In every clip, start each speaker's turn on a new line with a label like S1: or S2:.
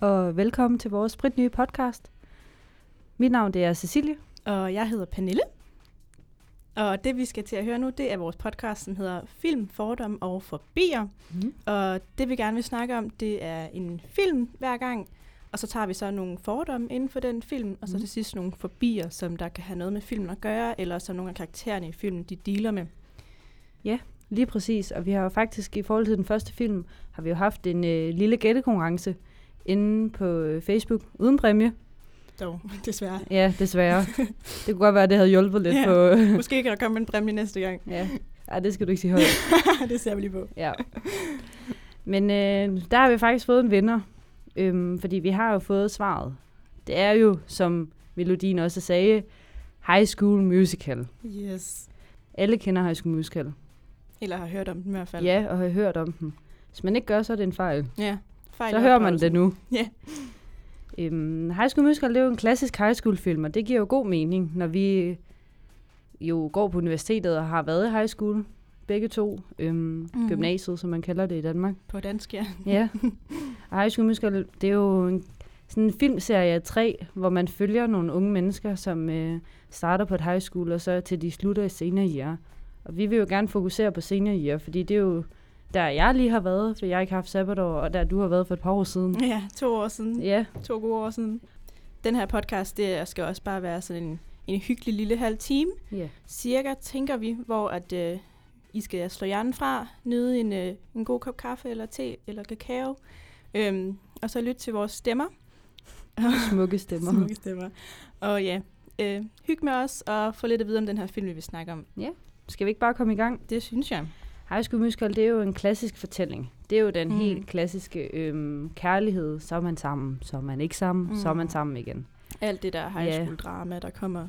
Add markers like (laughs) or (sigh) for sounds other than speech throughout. S1: og velkommen til vores spritnye podcast. Mit navn det er Cecilie.
S2: Og jeg hedder Pernille. Og det, vi skal til at høre nu, det er vores podcast, som hedder Film, Fordom og Forbier.
S1: Mm.
S2: Og det, vi gerne vil snakke om, det er en film hver gang. Og så tager vi så nogle fordomme inden for den film, og så
S1: Mm.
S2: til sidst nogle forbier, som der kan have noget med filmen at gøre, eller som nogle af karaktererne i filmen, de dealer med.
S1: Lige præcis, og vi har jo faktisk i forhold til den første film, har vi jo haft en øh, lille gættekonkurrence inde på øh, Facebook, uden præmie.
S2: Dog, desværre.
S1: Ja, (laughs) desværre. det kunne godt være, at det havde hjulpet lidt
S2: Ja.
S1: på... Øh,
S2: (laughs) Måske kan der komme en præmie næste
S1: (laughs)
S2: gang.
S1: ja. Ej, det skal du ikke sige højt.
S2: det ser vi lige på.
S1: Ja. Men øh, der har vi faktisk fået en vinder, øhm, fordi vi har jo fået svaret. Det er jo, som melodien også sagde, High School Musical.
S2: Yes.
S1: Alle kender High School Musical.
S2: Eller har hørt om den i hvert fald.
S1: Ja, og har hørt om den. Hvis man ikke gør, så er det en fejl.
S2: ja. Fejl
S1: Så
S2: i
S1: hører man
S2: opdragelsen.
S1: det nu.
S2: Ja.
S1: Øhm, high School Musical, det er jo en klassisk high school film, og det giver jo god mening, når vi jo går på universitetet og har været i high school. Begge to. Øhm,
S2: Mhm.
S1: mm. Gymnasiet, som man kalder det i Danmark.
S2: På dansk, ja.
S1: Ja. Og High School Musical, det er jo en, sådan en filmserie af tre, hvor man følger nogle unge mennesker, som øh, starter på et high school, og så til de slutter i senior year. Og vi vil jo gerne fokusere på senior year, fordi det er jo der, jeg lige har været, for jeg har ikke haft sabbatår, og der du har været for et par år siden.
S2: (laughs) Ja, to år siden.
S1: Ja,
S2: To gode år siden. Den her podcast, det skal også bare være sådan en, en hyggelig lille halv time.
S1: ja.
S2: Cirka, tænker vi, hvor at, øh, I skal slå hjernen fra, nyde en, øh, en god kop kaffe eller te eller kakao, øhm, og så lytte til vores stemmer. (laughs)
S1: smukke stemmer.
S2: Smukke stemmer. Og ja, øh, hyg med os og få lidt at vide om den her film, vi vil snakke om.
S1: Skal vi ikke bare komme i gang?
S2: Det synes jeg.
S1: High School Musical, det er jo en klassisk fortælling. Det er jo den
S2: Mm.
S1: mm. helt klassiske øhm, kærlighed. Så er man sammen, så er man ikke sammen, mm. så er
S2: Mm.
S1: man sammen igen.
S2: Alt det der high
S1: Ja.
S2: school drama, der kommer.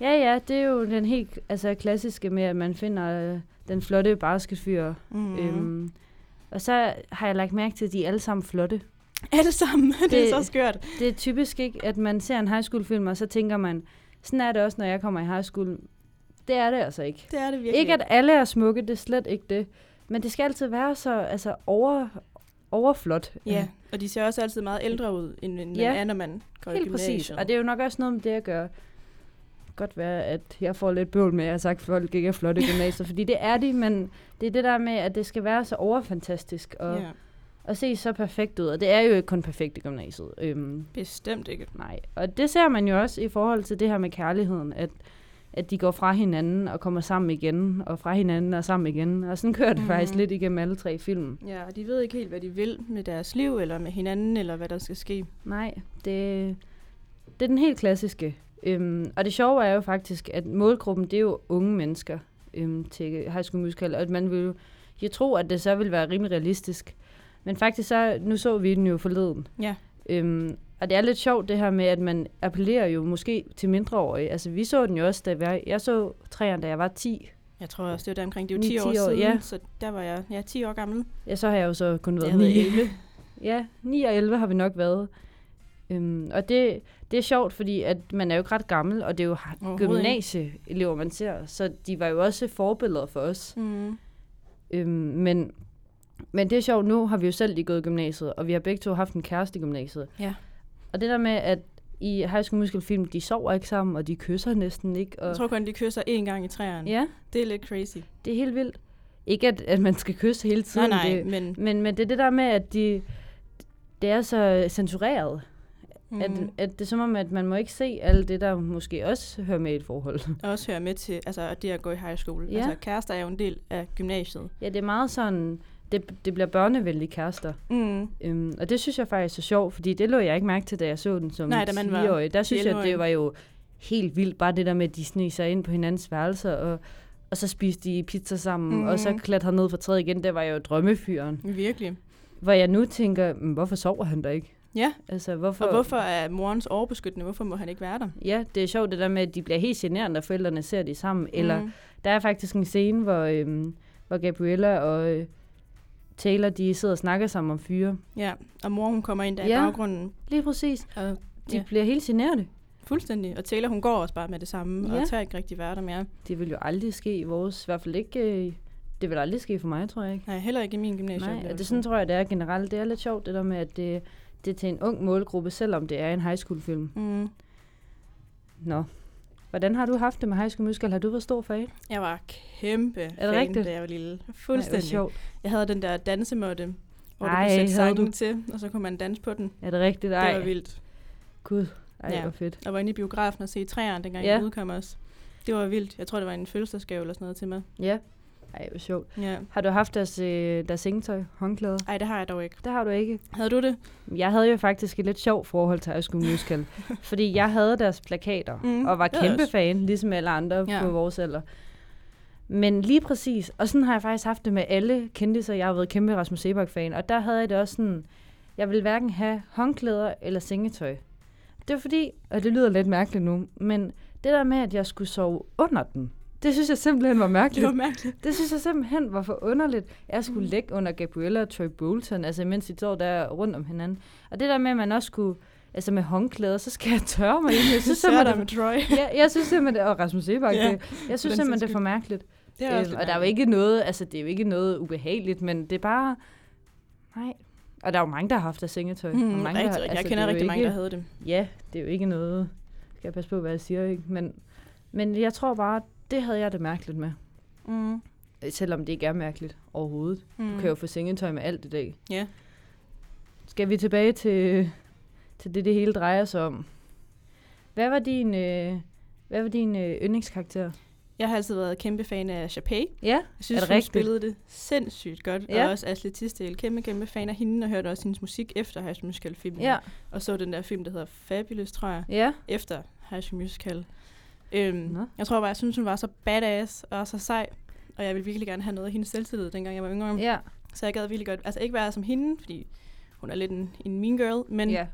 S1: Ja, ja, det er jo den helt altså, klassiske med, at man finder øh, den flotte basketfyr.
S2: Mm.
S1: Mm. Øhm, og så har jeg lagt mærke til, at de er alle sammen flotte.
S2: Alle sammen. (laughs) Det, det er
S1: Det-
S2: så skørt.
S1: Det er typisk ikke, at man ser en high school film, og så tænker man, sådan er det også, når jeg kommer i high school. Det er det altså ikke.
S2: Det er det virkelig.
S1: Virkelig. Ikke at alle er smukke, det er slet ikke det. Men det skal altid være så altså, over, overflot.
S2: Ja, og de ser også altid meget ældre ud, end end man
S1: Ja,
S2: er, når man går i
S1: Helt
S2: gymnasiet.
S1: præcis. Og det er jo nok også noget med det at gøre. Godt være, at jeg får lidt bøvl med, at jeg har sagt, at folk ikke er flotte
S2: (laughs)
S1: i gymnasiet, fordi det er de, men det er det der med, at det skal være så overfantastisk og, yeah.
S2: Ja,
S1: og se så perfekt ud. Og det er jo ikke kun perfekt i gymnasiet. Øhm,
S2: bestemt ikke.
S1: nej. Og det ser man jo også i forhold til det her med kærligheden, at, at de går fra hinanden og kommer sammen igen, og fra hinanden og sammen igen. Og sådan kører det mm. faktisk
S2: Mhm.
S1: lidt igennem alle tre film.
S2: Ja, og de ved ikke helt, hvad de vil med deres liv, eller med hinanden, eller hvad der skal ske.
S1: Nej, det, det er den helt klassiske. Øhm, og det sjove er jo faktisk, at målgruppen, det er jo unge mennesker øhm, til High School Musical, og at man vil jo jeg tror, at det så vil være rimelig realistisk. Men faktisk så, nu så vi den jo forleden.
S2: Ja.
S1: Øhm, og det er lidt sjovt det her med, at man appellerer jo måske til mindreårige. Altså vi så den jo også, da jeg, jeg så træerne, da jeg var 10.
S2: Jeg tror også, det var der omkring, det er jo
S1: Ni,
S2: 10 år,
S1: 10 år,
S2: siden,
S1: ja.
S2: så der var jeg ja, 10 år gammel.
S1: Ja, så har jeg jo så kun
S2: Jeg
S1: været
S2: har været
S1: 9.
S2: 11.
S1: Ja, 9 og 11 har vi nok været. Øhm, og det, det er sjovt, fordi at man er jo ikke ret gammel, og det er jo har-
S2: Overhovedet
S1: gymnasieelever, man ser. Så de var jo også forbilleder for os.
S2: Mm.
S1: Øhm, men, men det er sjovt, nu har vi jo selv lige gået i gymnasiet, og vi har begge to haft en kæreste i gymnasiet.
S2: Ja.
S1: Og det der med, at i High School Musical film, de sover ikke sammen, og de kysser næsten ikke. Og,
S2: Jeg tror kun, de kysser én gang i træerne.
S1: ja,
S2: Det er lidt crazy.
S1: det er helt vildt. Ikke at, at man skal kysse hele
S2: Nej,
S1: tiden.
S2: nej,
S1: Det,
S2: men...
S1: men, men det er det der med, at de, det er så censureret.
S2: Mm,
S1: At, at det er som om, at man må ikke se alt det, der måske også hører med i et forhold.
S2: også hører med til altså, at det at gå i high school.
S1: Ja.
S2: Altså, kærester er jo en del af gymnasiet.
S1: Ja, det er meget sådan, det, det bliver børnevenlige kærester.
S2: Mm.
S1: Øhm, og det synes jeg faktisk er sjovt, fordi det lå jeg ikke mærke til, da jeg så den som
S2: Nej, da man var
S1: 10-årig. Der synes jeg, at
S2: 11-årig.
S1: det var jo helt vildt, bare det der med, at de sneg sig ind på hinandens værelser, og, og så spiste de pizza sammen, mm. og så
S2: Mhm.
S1: klatrede ned fra træet igen. Der var jeg jo drømmefyren.
S2: Virkelig.
S1: Hvor jeg nu tænker, "Men hvorfor sover han der ikke?
S2: Ja,
S1: Altså, hvorfor...
S2: og hvorfor er morens overbeskyttende? Hvorfor må han ikke være der?
S1: Ja, det er sjovt det der med, at de bliver helt generende, når forældrene ser det sammen. Eller
S2: Mm.
S1: Der er faktisk en scene, hvor, øhm, hvor Gabriella og øh, Taylor, de sidder og snakker sammen om fyre.
S2: Ja, og mor hun kommer ind der ja.
S1: Ja.
S2: i baggrunden,
S1: Lige præcis.
S2: og
S1: De
S2: Ja.
S1: ja. bliver helt generte.
S2: fuldstændig. Og Taylor hun går også bare med det samme, ja.
S1: Ja.
S2: og tager ikke rigtig værter mere.
S1: Det vil jo aldrig ske i vores, i hvert fald ikke, øh, det vil aldrig ske for mig, tror jeg ikke.
S2: Nej, heller ikke i min gymnasie.
S1: Nej, og det sådan tror jeg, det er generelt. Det er lidt sjovt, det der med, at det, det er til en ung målgruppe, selvom det er en high school film.
S2: Mm.
S1: Nå. Hvordan har du haft det med High School Musical? Har du været stor fan?
S2: Jeg var kæmpe er det fan,
S1: rigtigt?
S2: da jeg var lille.
S1: Ej, hvor
S2: Fuldstændig.
S1: sjovt.
S2: jeg havde den der dansemåtte, hvor Ej,
S1: Ej,
S2: du kunne sætte
S1: havde
S2: sangen
S1: du?
S2: du... til, og så kunne man danse på den.
S1: Er det rigtigt?
S2: Ej.
S1: Ej,
S2: Det var vildt.
S1: gud. Ej,
S2: Ja.
S1: ja. hvor fedt.
S2: Jeg var inde i biografen og se træerne, dengang
S1: Ja.
S2: ja. den udkom også. Det var vildt. Jeg tror, det var en fødselsdagsgave eller sådan noget til mig.
S1: Ja. Ej, hvor sjovt.
S2: Ja.
S1: Har du haft deres, øh, deres sengetøj, håndklæder?
S2: Ej, det har jeg dog ikke.
S1: Det har du ikke.
S2: Havde du det?
S1: Jeg havde jo faktisk et lidt sjovt forhold til High School Musical, fordi jeg havde deres plakater
S2: Mm,
S1: mm, og var
S2: det er
S1: kæmpe
S2: også.
S1: fan, ligesom alle andre
S2: Ja.
S1: ja. på vores alder. Men lige præcis, og sådan har jeg faktisk haft det med alle kendtiser, jeg har været kæmpe Rasmus Sebak-fan, og der havde jeg det også sådan, jeg ville hverken have håndklæder eller sengetøj. Det var fordi, og det lyder lidt mærkeligt nu, men det der med, at jeg skulle sove under den, det synes jeg simpelthen var mærkeligt.
S2: Det var mærkeligt.
S1: Det synes jeg simpelthen var for underligt. Jeg
S2: Mm.
S1: skulle ligge under Gabriella og Troy Bolton, altså mens de står der rundt om hinanden. Og det der med, at man også skulle, altså med håndklæder, så skal jeg tørre mig ind. Jeg
S2: (laughs)
S1: synes
S2: Sørger dig
S1: simpelthen,
S2: med Troy.
S1: jeg, jeg synes simpelthen, det- og Rasmus Sebak,
S2: Ja,
S1: ja, jeg synes
S2: sags
S1: simpelthen, det er
S2: skyld.
S1: for mærkeligt.
S2: Det er også
S1: Øhm,
S2: lidt
S1: og der er jo
S2: mærkeligt.
S1: ikke noget, altså det er jo ikke noget ubehageligt, men det er bare, nej. Og der er jo mange, der har haft deres sengetøj. og
S2: Mm,
S1: mange,
S2: mange,
S1: der,
S2: rigtig, altså, jeg
S1: det
S2: kender
S1: er jo
S2: rigtig mange,
S1: ikke-
S2: der havde det.
S1: ja, det er jo ikke noget, skal jeg passe på, hvad jeg siger, ikke? Men, men jeg tror bare, det havde jeg det mærkeligt med.
S2: Mm.
S1: Øh, Selvom det ikke er mærkeligt overhovedet. Du
S2: Mm.
S1: kan jo få sengetøj med alt i dag.
S2: Ja.
S1: Skal vi tilbage til, til det, det hele drejer sig om? Hvad var din, øh, hvad var din øh, yndlingskarakter?
S2: Jeg har altid været kæmpe fan af Chapey.
S1: Ja,
S2: Jeg synes,
S1: Er det
S2: hun
S1: rigtigt?
S2: spillede det sindssygt godt. Ja.
S1: Ja.
S2: Og også Ashley Tisdale. Kæmpe, kæmpe fan af hende, og hørte også hendes musik efter High School Musical filmen.
S1: ja,
S2: Og så den der film, der hedder Fabulous, tror jeg,
S1: ja.
S2: efter High School Musical. Øhm,
S1: Nå.
S2: jeg tror bare, jeg synes, hun var så badass og så sej. Og jeg ville virkelig gerne have noget af hendes selvtillid, dengang jeg var yngre.
S1: ja.
S2: Så jeg gad virkelig godt, altså ikke være som hende, fordi hun er lidt en, en mean girl, men
S1: ja.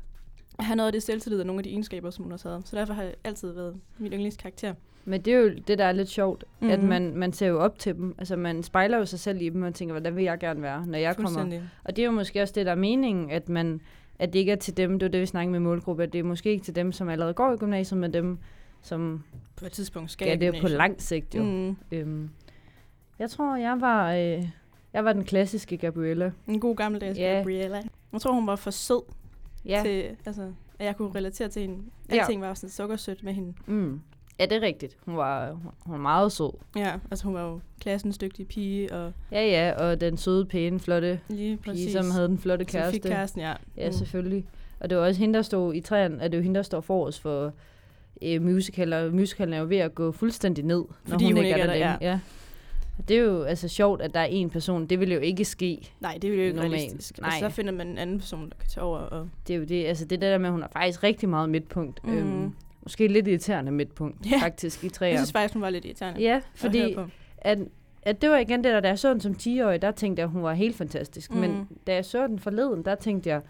S2: at have noget af det selvtillid og nogle af de egenskaber, som hun også havde. Så derfor har jeg altid været min yndlingskarakter.
S1: Men det er jo det, der er lidt sjovt, mm-hmm. at
S2: Mhm.
S1: man, man ser jo op til dem. Altså man spejler jo sig selv i dem og tænker, hvordan vil jeg gerne være, når jeg kommer
S2: Fuldstændig.
S1: Og det er jo måske også det, der er meningen, at man at det ikke er til dem, det er jo det, vi snakker med målgruppe, at det er måske ikke til dem, som allerede går i gymnasiet, men dem, som
S2: På et tidspunkt skal
S1: gør
S2: jeg
S1: det på
S2: gymnasiet.
S1: lang sigt. Jo. Mm.
S2: Mm,
S1: Øhm, jeg tror, jeg var, øh, jeg var den klassiske Gabriella.
S2: en god gammeldags
S1: Ja.
S2: Gabriella. Jeg tror, hun var for sød
S1: Ja,
S2: til, altså, at jeg kunne relatere til hende.
S1: Ja.
S2: Alting var sådan sukkersødt med hende.
S1: mm. ja det er rigtigt. Hun var, hun var meget sød.
S2: Ja, altså hun var jo klassens dygtige pige, og
S1: Ja, ja, og den søde, pæne, flotte
S2: lige
S1: pige,
S2: præcis.
S1: som havde den flotte
S2: som fik
S1: kæreste.
S2: kæresten, ja.
S1: Ja, mm. selvfølgelig. Og det var også hende, der stod i træerne, at det er jo hende, der står forrest for øh, musical, og musicalen er jo ved at gå fuldstændig ned, når
S2: Fordi
S1: hun,
S2: hun
S1: ikke er der,
S2: ja.
S1: ja. ja. Og det er jo altså sjovt, at der er en person. Det ville jo ikke ske.
S2: Nej, det er jo ikke
S1: Normalt.
S2: realistisk.
S1: Nej.
S2: Altså, så finder man en anden person, der kan tage over. Og...
S1: Det er jo det, altså det der med, at hun er faktisk rigtig meget midtpunkt. Mm.
S2: Mhm.
S1: Øhm, måske lidt irriterende midtpunkt,
S2: Ja.
S1: ja. faktisk, i
S2: Jeg
S1: træer.
S2: synes faktisk, hun var lidt irriterende.
S1: Ja,
S2: at
S1: fordi
S2: høre på.
S1: at, at det var igen det, der da jeg så den som 10-årig, der tænkte jeg, at hun var helt fantastisk. Mm. Men
S2: Mhm.
S1: da jeg så den forleden, der tænkte jeg,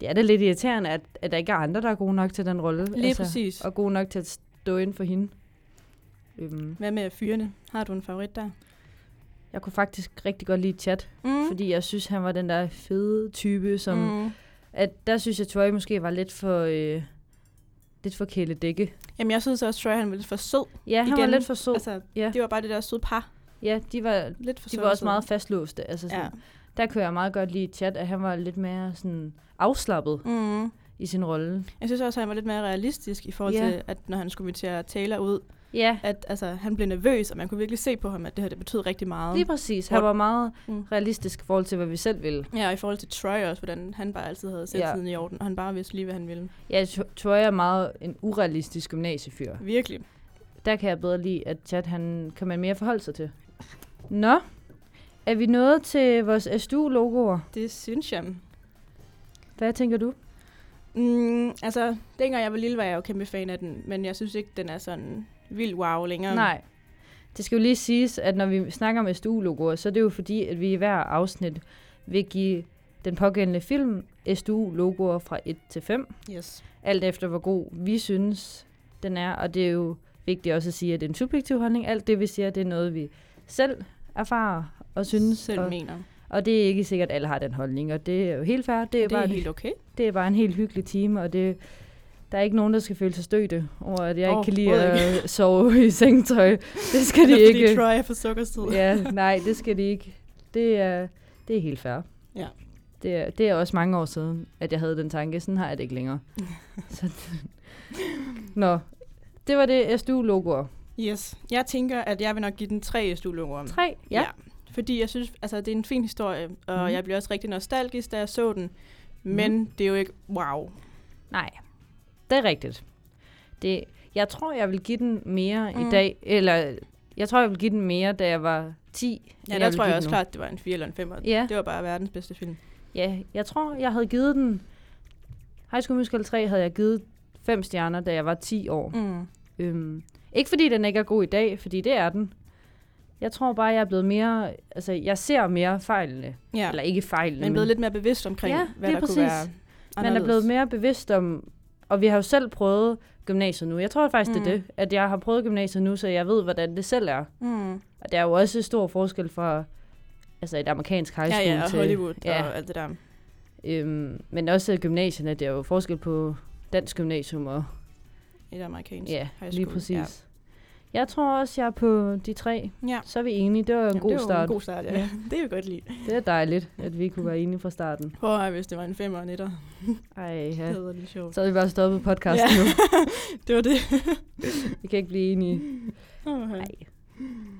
S1: det er da lidt irriterende, at, at der ikke er andre, der er gode nok til den rolle.
S2: Lige altså, præcis.
S1: og god nok til at stå inden for hende. Øhm,
S2: Hvad med fyrene? Har du en favorit der?
S1: jeg kunne faktisk rigtig godt lide Chat,
S2: Mm.
S1: mm. fordi jeg synes, han var den der fede type, som... Mm.
S2: Mm.
S1: At der synes jeg, Troy måske var lidt for... Øh, lidt for kæledække.
S2: Jamen, jeg synes også, at han var lidt for sød.
S1: Ja, han
S2: Igen.
S1: var lidt for sød. Altså,
S2: Altså,
S1: Ja.
S2: det var bare det der søde par.
S1: ja, de var,
S2: Lidt for
S1: de
S2: søde
S1: var
S2: og
S1: også
S2: søde.
S1: meget fastlåste. Altså sådan,
S2: Ja.
S1: ja. Der kunne jeg meget godt lide Chat, at han var lidt mere sådan afslappet
S2: Mm.
S1: i sin rolle.
S2: Jeg synes også, at han var lidt mere realistisk i forhold
S1: Ja.
S2: til, at når han skulle invitere Taylor ud,
S1: Ja,
S2: at altså, han blev nervøs, og man kunne virkelig se på ham, at det her det betød rigtig meget.
S1: lige præcis. Han var meget
S2: Mm.
S1: realistisk i forhold til, hvad vi selv ville.
S2: Ja, og i forhold til Troy også, hvordan han bare altid havde selvtiden i orden, og han bare vidste lige, hvad han ville.
S1: Ja, Troy er meget en urealistisk gymnasiefyr.
S2: Virkelig.
S1: Der kan jeg bedre lide, at chat han kan man mere forholde sig til. Nå, er vi nået til vores SDU-logoer?
S2: Det synes jeg.
S1: Hvad tænker du?
S2: Mm, altså, dengang jeg var lille, var jeg jo kæmpe fan af den, men jeg synes ikke, den er sådan vild wow længere.
S1: Nej. Det skal jo lige siges, at når vi snakker om SDU-logoer, så er det jo fordi, at vi i hver afsnit vil give den pågældende film SDU-logoer fra 1 til 5,
S2: Yes.
S1: alt efter hvor god vi synes, den er. Og det er jo vigtigt også at sige, at det er en subjektiv holdning. Alt det, vi siger, det er noget, vi selv erfarer og synes.
S2: Selv
S1: og,
S2: mener. Det
S1: og det er ikke sikkert, at alle har den holdning, og det er jo helt fair. Det er,
S2: er, det
S1: bare
S2: er
S1: en
S2: helt okay.
S1: det er bare en helt hyggelig time, og det, der er ikke nogen, der skal føle sig stødte over, at jeg ikke kan lide
S2: Overhovedet
S1: at (laughs) sove i sengtøj. (laughs) Det skal de
S2: Eller fordi
S1: ikke.
S2: Troy er for sukkersød.
S1: Ja, nej, det skal de ikke. Det er, det er helt fair.
S2: Ja.
S1: Det er, det er også mange år siden, at jeg havde den tanke. Sådan har jeg det ikke (laughs) længere. Så, Nå, det var det SDU-logoer.
S2: Yes. Jeg tænker, at jeg vil nok give den tre SDU-logoer.
S1: Tre, ja.
S2: Ja. Fordi jeg synes, altså det er en fin historie, og
S1: Mhm.
S2: mm. jeg blev også rigtig nostalgisk, da jeg så den. Men mm. det er jo ikke wow.
S1: Nej, det er rigtigt. Det, jeg tror, jeg vil give den mere mm. i
S2: Mm.
S1: dag, eller jeg tror, jeg vil give den mere, da jeg var 10.
S2: Ja,
S1: end
S2: der
S1: vil give
S2: tror jeg
S1: den
S2: også
S1: nu.
S2: klart, at det var en 4 eller en 5.
S1: Ja.
S2: Det var bare verdens bedste film.
S1: Ja, jeg tror, jeg havde givet den... High School Musical 3 havde jeg givet 5 stjerner, da jeg var 10 år. Mm.
S2: Mm.
S1: Øhm, ikke fordi den ikke er god i dag, fordi det er den. Jeg tror bare, jeg er blevet mere... Altså, jeg ser mere fejlene. Ja.
S2: Ja,
S1: Eller ikke fejlene,
S2: men blevet lidt mere bevidst omkring,
S1: Ja,
S2: ja, hvad
S1: lige
S2: der
S1: præcis.
S2: kunne være
S1: Man er
S2: anderledes.
S1: blevet mere bevidst om, og vi har jo selv prøvet gymnasiet nu. Jeg tror faktisk, mm. det er
S2: Mm.
S1: det, at jeg har prøvet gymnasiet nu, så jeg ved, hvordan det selv er.
S2: Mm.
S1: Og der er jo også stor forskel fra altså et amerikansk high
S2: Ja,
S1: school
S2: ja, og
S1: til...
S2: Hollywood
S1: ja.
S2: ja. og alt det der.
S1: Øhm, men også gymnasierne, der er jo forskel på dansk gymnasium og...
S2: Et amerikansk
S1: Ja,
S2: high
S1: lige
S2: school,
S1: præcis. Ja. Jeg tror også, jeg er på de tre.
S2: Ja.
S1: Så er vi enige. Det var en
S2: Jamen,
S1: god
S2: det er jo
S1: start.
S2: en god start, ja.
S1: Ja.
S2: ja. (laughs) Det er jo godt lige.
S1: Det er dejligt, at vi kunne være enige fra starten.
S2: Prøv at høre, hvis det var en 5 og en 1'er.
S1: Ej,
S2: Ja.
S1: ja.
S2: Det var lidt sjovt.
S1: Så havde vi bare stoppet podcasten ja. nu.
S2: det var det.
S1: Vi kan ikke blive enige.
S2: Okay.
S1: Nej.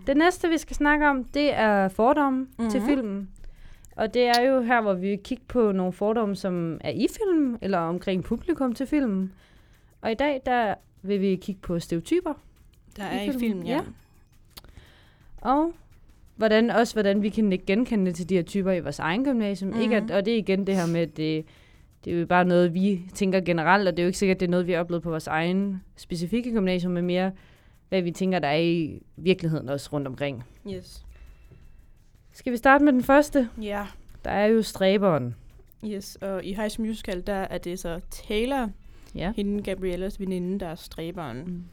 S1: Det næste, vi skal snakke om, det er fordomme mm-hmm. til
S2: Mhm.
S1: filmen. Og det er jo her, hvor vi kigger på nogle fordomme, som er i film, eller omkring publikum til filmen. Og i dag, der vil vi kigge på stereotyper,
S2: Der
S1: I
S2: er i
S1: filmen,
S2: filmen, ja.
S1: ja. Og hvordan, også hvordan vi kan ikke genkende det til de her typer i vores egen gymnasium. Mm.
S2: Mhm.
S1: Ikke at, og det er igen det her med, at det, det er jo bare noget, vi tænker generelt, og det er jo ikke sikkert, det er noget, vi har oplevet på vores egen specifikke gymnasium, men mere, hvad vi tænker, der er i virkeligheden også rundt omkring.
S2: Yes.
S1: Skal vi starte med den første?
S2: Ja,
S1: Der er jo stræberen.
S2: yes. Og i High School Musical, der er det så Taylor,
S1: Ja.
S2: hende Gabriellas veninde, der er stræberen.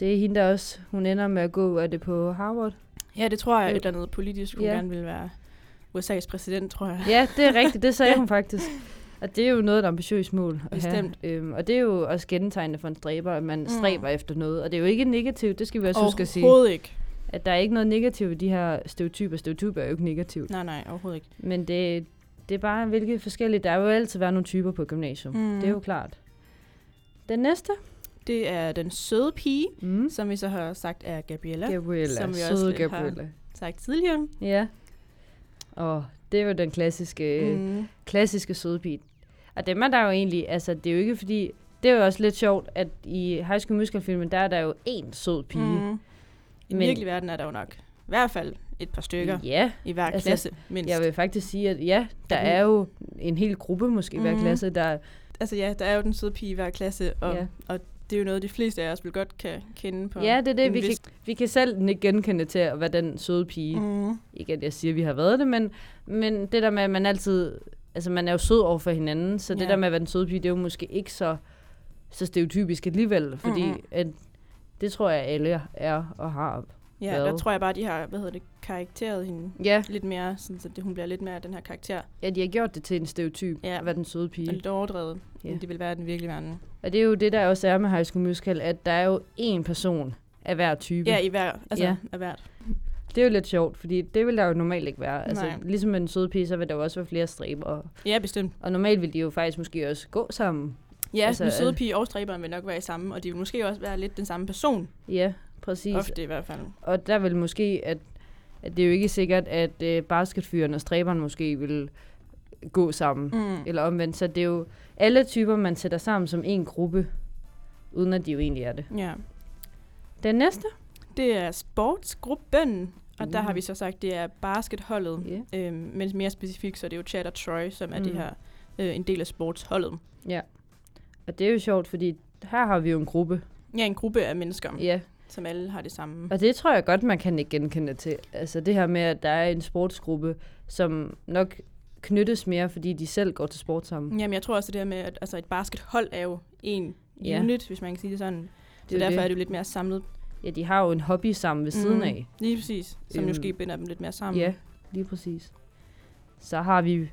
S1: Det er hende, der også, hun ender med at gå, er det på Harvard?
S2: Ja, det tror jeg,
S1: Jo.
S2: et eller andet politisk, hun
S1: Ja.
S2: ja. gerne vil være USA's præsident, tror jeg.
S1: Ja, det er rigtigt,
S2: (laughs)
S1: det sagde hun faktisk. Og det er jo noget af et ambitiøst mål at
S2: Bestemt.
S1: have. Øhm, og det er jo også kendetegnende for en stræber, at man
S2: Mm.
S1: stræber efter noget. Og det er jo ikke negativt, det skal vi også huske at sige.
S2: Overhovedet ikke.
S1: At der er ikke noget negativt i de her stereotyper. Stereotyper er jo ikke negativt.
S2: Nej, nej, overhovedet ikke.
S1: Men det, det er bare, hvilke forskellige... Der vil jo altid være nogle typer på gymnasium.
S2: Mm.
S1: Det er jo klart. Den næste.
S2: Det er den søde pige,
S1: Mm.
S2: som vi så har sagt er Gabriella, Gab-
S1: Gabriella.
S2: Som vi også
S1: Søde
S2: lidt har-
S1: Gabriella.
S2: sagt tidligere.
S1: Ja. Og det er jo den klassiske... Mm.
S2: Mm.
S1: klassiske sødepige. Og dem er der jo egentlig, altså det er jo ikke fordi, det er jo også lidt sjovt, at i High School Musical filmen, der er der jo én sød pige. Mm.
S2: Mm. I
S1: Men-
S2: den virkelige verden er der jo nok i hvert fald et par stykker
S1: Ja,
S2: i hver
S1: Altså,
S2: altså, klasse mindst.
S1: jeg vil faktisk sige, at ja, der
S2: Er den-
S1: er jo en hel gruppe måske i hver
S2: Mhm.
S1: klasse, der...
S2: Altså ja, der er jo den søde pige i hver klasse, og,
S1: Ja.
S2: ja. og det er jo noget, de fleste af os vil godt kan kende på.
S1: Ja, det er det,
S2: en
S1: vi kan,
S2: vis-
S1: vi kan selv ikke genkende til at være den søde pige. Mm.
S2: Mm.
S1: Ikke at jeg siger, at vi har været det, men, men det der med, at man altid... Altså, man er jo sød over for hinanden, så det
S2: Ja.
S1: der med at være den søde pige, det er jo måske ikke så, så stereotypisk alligevel, fordi
S2: Mhm.
S1: mm. at, det tror jeg, alle er og har.
S2: Ja,
S1: Hvad?
S2: der tror jeg bare, de har, hvad hedder det, karakteret hende
S1: Ja,
S2: lidt mere, sådan, så det, hun bliver lidt mere den her karakter,
S1: Ja, de har gjort det til en stereotyp ja.
S2: Ja. Mm.
S1: at være den søde
S2: og
S1: pige.
S2: lidt overdrevet,
S1: Ja.
S2: ja. end det vil være i den virkelige verden.
S1: Og det er jo det, der også er med High School Musical, at der er jo én person af hver type.
S2: Ja, i hver, altså
S1: Ja.
S2: ja. af hvert.
S1: Det er jo lidt sjovt, fordi det vil der jo normalt ikke være. Altså,
S2: Nej.
S1: ligesom med den søde pige, så vil der jo også være flere striber. Og,
S2: Ja, bestemt.
S1: og normalt vil de jo faktisk måske også gå sammen.
S2: Ja,
S1: Altså,
S2: altså, den søde
S1: øh,
S2: pige og stræberen vil nok være i samme, og de vil måske også være lidt den samme person,
S1: Ja, præcis.
S2: ofte i hvert fald.
S1: Og der vil måske, at, at det er jo ikke sikkert, at øh, basketfyren og stræberen måske vil gå sammen.
S2: Mm.
S1: Eller omvendt. Så det er jo alle typer, man sætter sammen som en gruppe, uden at de jo egentlig er det.
S2: Ja.
S1: Den næste?
S2: Det er sportsgruppen, og der
S1: Mm.
S2: har vi så sagt, det er basketholdet.
S1: Ja.
S2: Øhm, men mere specifikt, så er det jo Chad og Troy, som er mm. det
S1: Mm.
S2: her, øh, en del af sportsholdet.
S1: Og det er jo sjovt, fordi her har vi jo en gruppe.
S2: Ja, en gruppe af mennesker, ja.
S1: Ja,
S2: som alle har det samme.
S1: og det tror jeg godt, man kan ikke genkende til. Altså det her med, at der er en sportsgruppe, som nok knyttes mere, fordi de selv går til sport sammen.
S2: Jamen, jeg tror også det her med, at altså, et baskethold er jo en
S1: Ja.
S2: ja. unit, hvis man kan sige det sådan.
S1: Det
S2: Så
S1: er
S2: derfor
S1: det.
S2: er det jo lidt mere samlet. Mhm.
S1: Ja, de har jo en hobby sammen ved siden
S2: Mm.
S1: af.
S2: Lige præcis, som
S1: Øhm,
S2: måske binder dem lidt mere sammen.
S1: Ja, lige præcis. Så har vi...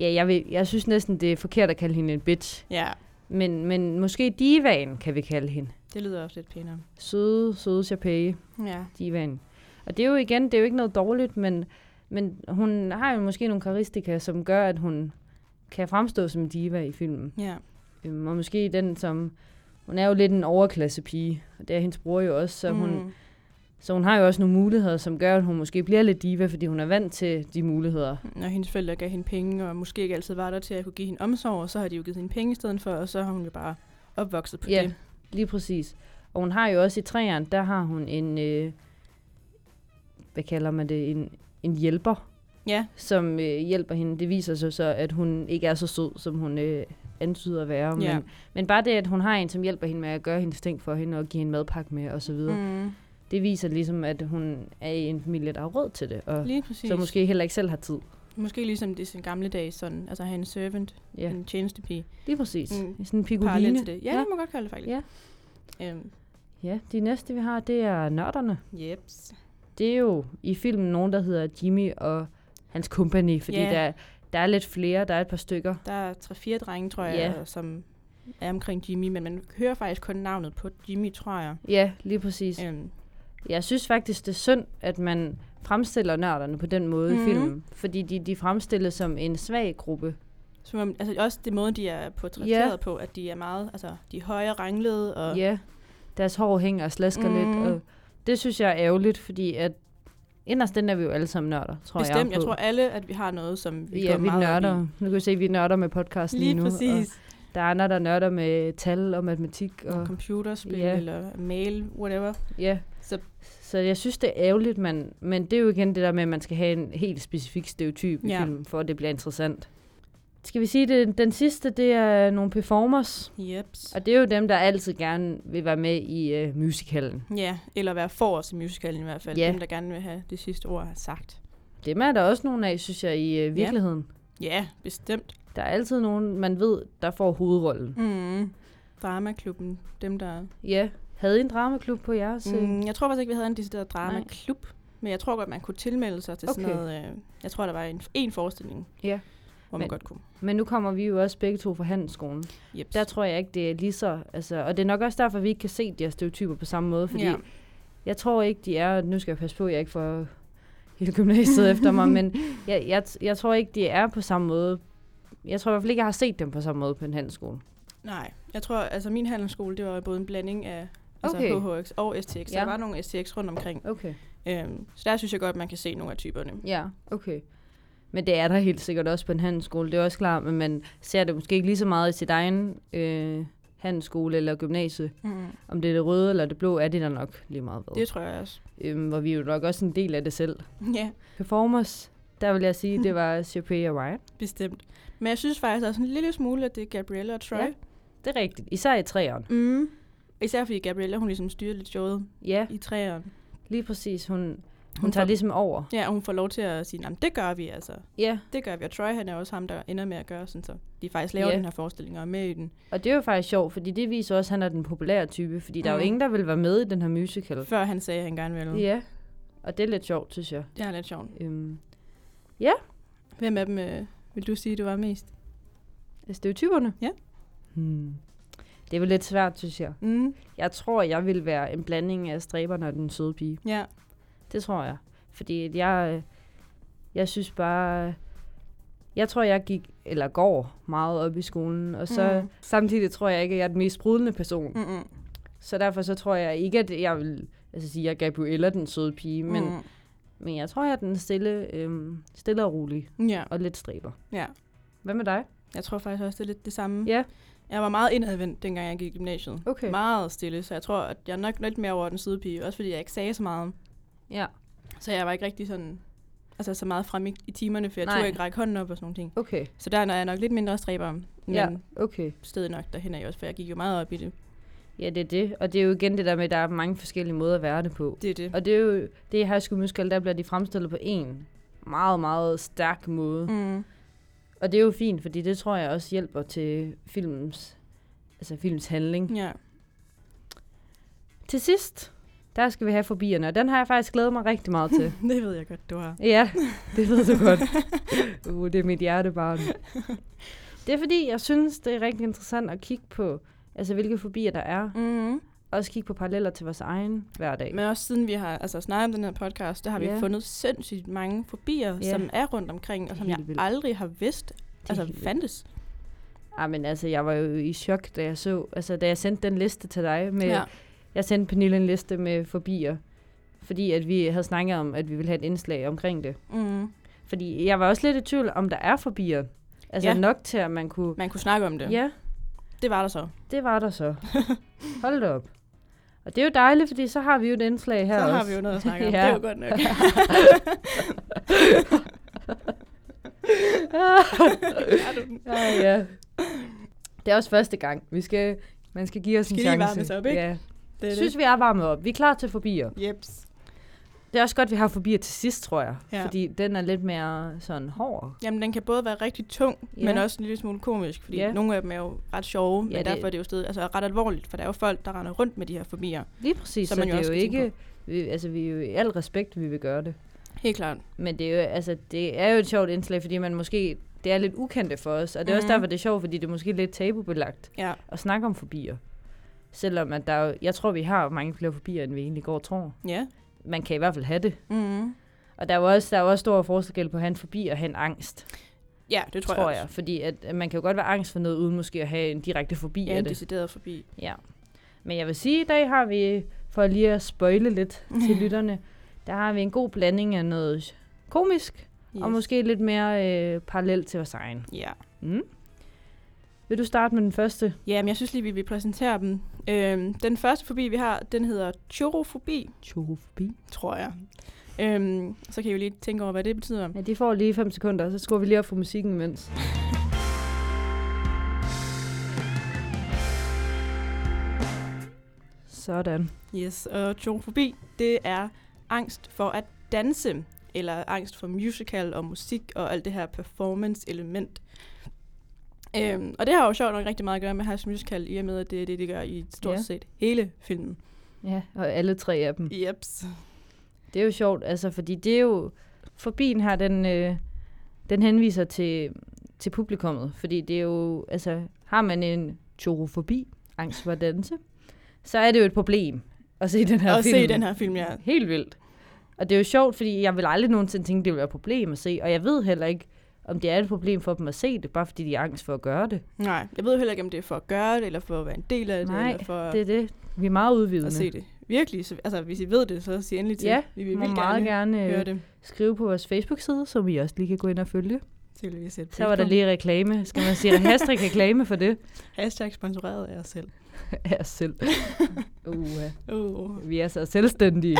S1: Ja, jeg, vil, jeg synes næsten, det er forkert at kalde hende en bitch.
S2: ja,
S1: Men, men måske divaen kan vi kalde hende.
S2: det lyder også lidt pænere.
S1: Søde, søde chapelle.
S2: Ja.
S1: divaen. Og det er jo igen, det er jo ikke noget dårligt, men Men hun har jo måske nogle karistika, som gør, at hun kan fremstå som en diva i filmen.
S2: Ja.
S1: Øhm, og måske den, som... Hun er jo lidt en overklassepige, og det er hendes bror jo også, så mm. hun,
S2: Mm.
S1: så hun har jo også nogle muligheder, som gør, at hun måske bliver lidt diva, fordi hun er vant til de muligheder.
S2: Når hendes forældre gav hende penge, og måske ikke altid var der til at kunne give hende omsorg, og så har de jo givet hende penge i stedet for, og så har hun jo bare opvokset på
S1: Ja.
S2: det.
S1: Lige præcis. Og hun har jo også i træerne, der har hun en, øh, hvad kalder man det, en, en hjælper,
S2: Ja,
S1: som øh, hjælper hende. Det viser sig så, at hun ikke er så sød, som hun øh, antyder at være.
S2: Ja.
S1: Men, men bare det, at hun har en, som hjælper hende med at gøre hendes ting for hende, og give hende madpakke med osv., mm.
S2: mm.
S1: det viser ligesom, at hun er i en familie, der har råd til det, og
S2: lige præcis.
S1: så måske heller ikke selv har tid.
S2: Måske ligesom det er sådan gamle dage, sådan, altså at have en servant,
S1: Ja,
S2: en tjenestepige.
S1: lige præcis.
S2: Mm.
S1: Mm. Sådan en
S2: Parallelt
S1: pikoline.
S2: til det. Ja,
S1: Ja.
S2: ja, det må man godt kalde det faktisk.
S1: Ja.
S2: Øhm,
S1: Ja, de næste, vi har, det er nørderne.
S2: jeps.
S1: det er jo i filmen nogen, der hedder Jimmy og hans company, fordi
S2: Ja.
S1: yeah. der, der er lidt flere, der er et par stykker.
S2: Der er tre-fire drenge, tror jeg,
S1: Ja.
S2: ja. som er omkring Jimmy, men man hører faktisk kun navnet på Jimmy, tror jeg.
S1: Ja, lige præcis. Yeah.
S2: Øhm,
S1: Jeg synes faktisk, det er synd, at man fremstiller nørderne på den måde mm. i
S2: Mhm.
S1: filmen, fordi de, de fremstilles som en svag gruppe.
S2: som om, altså også det måde, de er portrætteret yeah. på, at de er meget, altså de er høje og ranglede,
S1: Ja,
S2: og
S1: yeah. deres hår hænger og slasker mm. lidt,
S2: Mhm.
S1: og det synes jeg er ærgerligt, fordi at inderst den er vi jo alle sammen nørder, tror jeg.
S2: bestemt, jeg,
S1: på.
S2: tror alle, at vi har noget, som vi
S1: Ja,
S2: går
S1: vi
S2: meget op i.
S1: nørder. Nu kan vi se, at vi nørder med podcasten lige,
S2: Lige
S1: nu.
S2: præcis.
S1: Og der er andre, der nørder med tal og matematik. Og,
S2: computerspil
S1: Ja.
S2: yeah. eller mail, whatever.
S1: ja,
S2: Så
S1: Så jeg synes, det er ærgerligt, man, men det er jo igen det der med, at man skal have en helt specifik stereotyp ja. i
S2: Ja.
S1: filmen, for at det bliver interessant. Skal vi sige, at den sidste, det er nogle performers,
S2: jeps.
S1: og det er jo dem, der altid gerne vil være med i uh, musicalen.
S2: Ja, eller være forrest i musicalen i hvert fald.
S1: Ja.
S2: Dem, der gerne vil have det sidste ord sagt.
S1: Dem er der også nogle af, synes jeg, i uh, virkeligheden. Ja.
S2: Ja, bestemt.
S1: Der er altid nogen, man ved, der får hovedrollen.
S2: Mm. Dramaklubben, dem der...
S1: Ja, havde I en dramaklub på jeres? Mm.
S2: Mm, jeg tror faktisk ikke, vi havde en decideret dramaklub. Men jeg tror godt, man kunne tilmelde sig til sådan
S1: Okay.
S2: noget... Øh, jeg tror, der var en, en forestilling,
S1: Ja.
S2: hvor man
S1: Men-
S2: godt kunne.
S1: Men nu kommer vi jo også begge to fra handelsskolen.
S2: Jeps.
S1: Der tror jeg ikke, det er lige så... Altså, og det er nok også derfor, vi ikke kan se de her stereotyper på samme måde, fordi
S2: ja.
S1: Jeg tror ikke, de er, nu skal jeg passe på, at jeg ikke får hele gymnasiet efter mig, (laughs) men jeg, jeg, jeg tror ikke, de er på samme måde. Jeg tror i hvert fald ikke, jeg har set dem på samme måde på en handelsskole.
S2: Nej, jeg tror, altså min handelsskole, det var både en blanding af altså
S1: Okay.
S2: HHX og STX. Ja.
S1: Ja.
S2: Der var nogle STX rundt omkring.
S1: Okay.
S2: Øhm, så der synes jeg godt, man kan se nogle af typerne.
S1: Ja, okay. Men det er der helt sikkert også på en handelsskole, det er også klart, men man ser det måske ikke lige så meget i sit egen øh, handelsskole eller gymnasie.
S2: Mm.
S1: Om det er det røde eller det blå, er det der nok lige meget ved.
S2: Det tror jeg også. (laughs)
S1: Øhm, hvor vi er jo nok også en del af det selv.
S2: Ja,
S1: Performers, der vil jeg sige, det (laughs) var Chappelle og Ryan.
S2: bestemt. Men jeg synes faktisk også en lille smule, at det er Gabriella og Troy.
S1: Ja.
S2: Ja.
S1: Det er rigtigt, især i træerne.
S2: Mm. Især fordi Gabriella, hun ligesom styrer lidt showet
S1: Ja,
S2: i træerne.
S1: lige præcis. Hun, Hun
S2: Hun
S1: tager
S2: får-
S1: ligesom over.
S2: Ja, og hun får lov til at sige, at det gør vi altså.
S1: Ja,
S2: Det gør vi, og Troy han er også ham, der ender med at gøre sådan, så de faktisk laver
S1: Ja.
S2: yeah. den her forestilling og er med i den.
S1: og det er jo faktisk sjovt, fordi det viser også, at han er den populære type, fordi der er jo
S2: Mhm.
S1: ingen, der vil være med i den her musical.
S2: Før han sagde, at han gerne ville.
S1: Mm. Ja, og det er lidt sjovt, synes jeg.
S2: Det er lidt sjovt.
S1: Øhm,
S2: Hvem af dem øh, vil du sige, du var mest?
S1: stereotyperne?
S2: Ja.
S1: Hmm. Det er jo lidt svært, synes jeg.
S2: Mm.
S1: Jeg tror, jeg vil være en blanding af stræberne og den søde pige.
S2: Ja,
S1: Det tror jeg. Fordi at jeg, øh, jeg synes bare... Jeg tror, jeg gik, eller går meget op i skolen, og så
S2: Mhm.
S1: samtidig tror jeg ikke, at jeg er den mest sprudlende person.
S2: Mm-mm.
S1: Så derfor så tror jeg ikke, at jeg vil altså sige, at jeg er Gabriella, den søde pige, men, mm.
S2: Mm.
S1: men jeg tror, jeg er den stille, øhm, stille og rolig
S2: ja,
S1: og lidt stræber.
S2: ja.
S1: Hvad med dig?
S2: Jeg tror faktisk også, det er lidt det samme.
S1: Ja.
S2: Jeg var meget indadvendt, dengang jeg gik i gymnasiet.
S1: Okay.
S2: Meget stille, så jeg tror, at jeg er nok lidt mere over den søde pige, også fordi jeg ikke sagde så meget.
S1: Ja,
S2: Så jeg var ikke rigtig sådan, altså så meget fremme i, i timerne, for jeg
S1: Nej.
S2: tog ikke række hånden op og sådan nogle ting.
S1: okay.
S2: Så der er jeg nok lidt mindre stræber, men
S1: Ja,
S2: ja.
S1: okay.
S2: stedet nok derhen er jeg også, for jeg gik jo meget op i det.
S1: Ja, det er det. Og det er jo igen det der med, at der er mange forskellige måder at være det på.
S2: Det er det.
S1: Og det er jo det i High School Musical, der bliver de fremstillet på en meget, meget stærk måde. Mm.
S2: Mm.
S1: Og det er jo fint, fordi det tror jeg også hjælper til filmens, altså filmens handling. (laughs)
S2: Ja.
S1: Til sidst, der skal vi have forbierne, og den har jeg faktisk glædet mig rigtig meget til.
S2: det ved jeg godt, du har. (laughs)
S1: Ja, det ved du godt. Uh, det er mit hjertebarn. Det er fordi, jeg synes, det er rigtig interessant at kigge på, altså hvilke fobier der er.
S2: Mm.
S1: også kigge på paralleller til vores egen hverdag.
S2: Men også siden vi har altså, snakket om den her podcast, der har vi
S1: Ja.
S2: fundet sindssygt mange fobier,
S1: Ja.
S2: som er rundt omkring, og som
S1: Helt
S2: jeg
S1: vildt.
S2: aldrig har vidst,
S1: Det er
S2: altså
S1: helt vildt.
S2: fandtes.
S1: Ah, men altså, jeg var jo i chok, da jeg så, altså, da jeg sendte den liste til dig. Med, ja. Jeg sendte Pernille en liste med fobier, fordi at vi havde snakket om, at vi ville have et indslag omkring det.
S2: Mm.
S1: Fordi jeg var også lidt i tvivl, om der er fobier. Altså
S2: Ja.
S1: ja. nok til, at man kunne...
S2: Man kunne snakke om det.
S1: Ja,
S2: Det var der så.
S1: det var der så. Hold da op. Og det er jo dejligt, fordi så har vi jo et indslag her
S2: så
S1: også.
S2: har vi jo noget at snakke
S1: (laughs)
S2: om.
S1: Ja.
S2: Det er jo godt nok.
S1: (laughs)
S2: Er du den?
S1: Ja, ja. Det er også første gang. Vi skal, man skal give os
S2: Skal
S1: en
S2: lige
S1: chance.
S2: varmes op, ikke?
S1: Ja.
S2: det er
S1: Synes vi er varmet op. Vi er klar til fobier.
S2: det. Jeps.
S1: Det er også godt, vi har fobier til sidst, tror jeg.
S2: Ja.
S1: Fordi den er lidt mere sådan hård.
S2: Jamen, den kan både være rigtig tung,
S1: Ja.
S2: ja. men også en lille smule komisk, fordi
S1: Ja.
S2: ja. nogle af dem er jo ret sjove, men
S1: Ja, det-
S2: derfor er det jo stadig altså, ret alvorligt, for der er jo folk, der render rundt med de her fobier.
S1: Lige præcis, så,
S2: Som
S1: så
S2: man
S1: det
S2: jo
S1: er
S2: også
S1: jo
S2: skal tænke
S1: ikke... Vi, altså, vi er jo i al respekt, vi vil gøre det.
S2: Helt klart.
S1: Men det er, jo, altså, det er jo et sjovt indslag, fordi man måske... Det er lidt ukendte for os, og det er mm. også
S2: Mhm.
S1: derfor, det er sjovt, fordi det er måske lidt tabubelagt
S2: Ja.
S1: at snakke om fobier. Selvom at der er, jo- jeg tror, vi har mange flere fobier, end vi egentlig går og tror.
S2: Ja.
S1: Man kan i hvert fald have det.
S2: Mm-hmm.
S1: Og der er jo også, der er jo også stor forskel på at have en fobi og have en angst,
S2: Ja, det
S1: tror,
S2: tror,
S1: tror
S2: jeg.
S1: jeg.
S2: også.
S1: Fordi at, at man kan jo godt være angst for noget, uden måske at have en direkte fobi
S2: Ja,
S1: af
S2: en
S1: det.
S2: decideret forbi.
S1: Ja. Men jeg vil sige, at i dag har vi, for lige at spøjle lidt
S2: (laughs)
S1: til lytterne, der har vi en god blanding af noget komisk, yes. og måske lidt mere øh, parallelt til vores egen.
S2: Ja.
S1: Mm. Vil du starte med den første?
S2: ja, men jeg synes lige, vi vil præsentere dem. Øhm, den første fobi, vi har, den hedder chorofobi,
S1: Chorofobi.
S2: tror jeg. Øhm, så kan I jo lige tænke over, hvad det betyder.
S1: Ja, de får lige 5 sekunder, så skruer vi lige op for musikken imens. Sådan.
S2: Yes, og chorofobi, det er angst for at danse, eller angst for musical og musik og alt det her performance-element. Øhm, og det har jo sjovt nok rigtig meget at gøre med High School Musical, i og med, at det er det, de gør i stort
S1: Ja.
S2: set hele filmen.
S1: Ja, og alle tre af dem.
S2: Jeps.
S1: Det er jo sjovt, altså, fordi det er jo... Forbien her, den, øh, den henviser til, til publikummet, fordi det er jo... Altså, har man en chorofobi, angst for at danse, så er det jo et problem at se den her
S2: Og
S1: film.
S2: se den her film, ja.
S1: Helt vildt. Og det er jo sjovt, fordi jeg vil aldrig nogensinde tænke, det vil være et problem at se. Og jeg ved heller ikke, om det er et problem for dem at se det, bare fordi de er angst for at gøre det.
S2: Nej, jeg ved jo heller ikke, om det er for at gøre det, eller for at være en del af det,
S1: Nej,
S2: eller for
S1: Det er det. Vi er meget udvidende.
S2: at se det. Virkelig, så, altså hvis I ved det, så sig endelig til.
S1: Ja,
S2: vi
S1: Vi
S2: vil
S1: må
S2: vildt
S1: meget
S2: gerne,
S1: gerne, øh,
S2: høre
S1: gerne
S2: det.
S1: skrive på vores Facebook-side, som I også lige kan gå ind og følge.
S2: Det vil vi sætte
S1: Så var der
S2: pris på.
S1: lige reklame. Skal man sige hashtag reklame for
S2: (laughs)
S1: det?
S2: Hashtag sponsoreret af os selv.
S1: Af os selv. (laughs) Uha.
S2: Uh.
S1: Vi er så
S2: (laughs)
S1: selvstændige.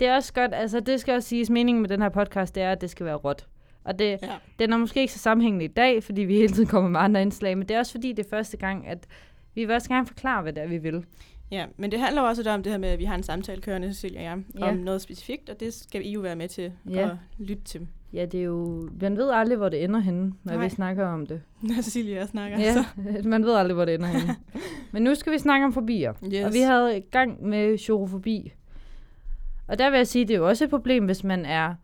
S1: det er også godt, altså det skal også siges, meningen med den her podcast, det er, at det skal være råt. Og det,
S2: Ja.
S1: den er måske ikke så sammenhængende i dag, fordi vi hele tiden kommer med andre indslag, men det er også fordi, det er første gang, at vi vil også gerne forklare, hvad det er, vi vil.
S2: ja, men det handler jo også lidt om det her med, at vi har en samtale kørende, Cecilia og jeg,
S1: Ja.
S2: om noget specifikt, og det skal I jo være med til
S1: Ja.
S2: at lytte til.
S1: Ja, det er jo... Man ved aldrig, hvor det ender henne, når Nej.
S2: Nej.
S1: vi snakker om det.
S2: Når Cecilia og jeg snakker.
S1: Ja, altså. (laughs)
S2: Så.
S1: man ved aldrig, hvor det ender (laughs) henne. Men nu skal vi snakke om fobier.
S2: Yes.
S1: Yes. Og vi havde i gang med chorofobi. Og der vil jeg sige, at det er jo også et problem, hvis man er,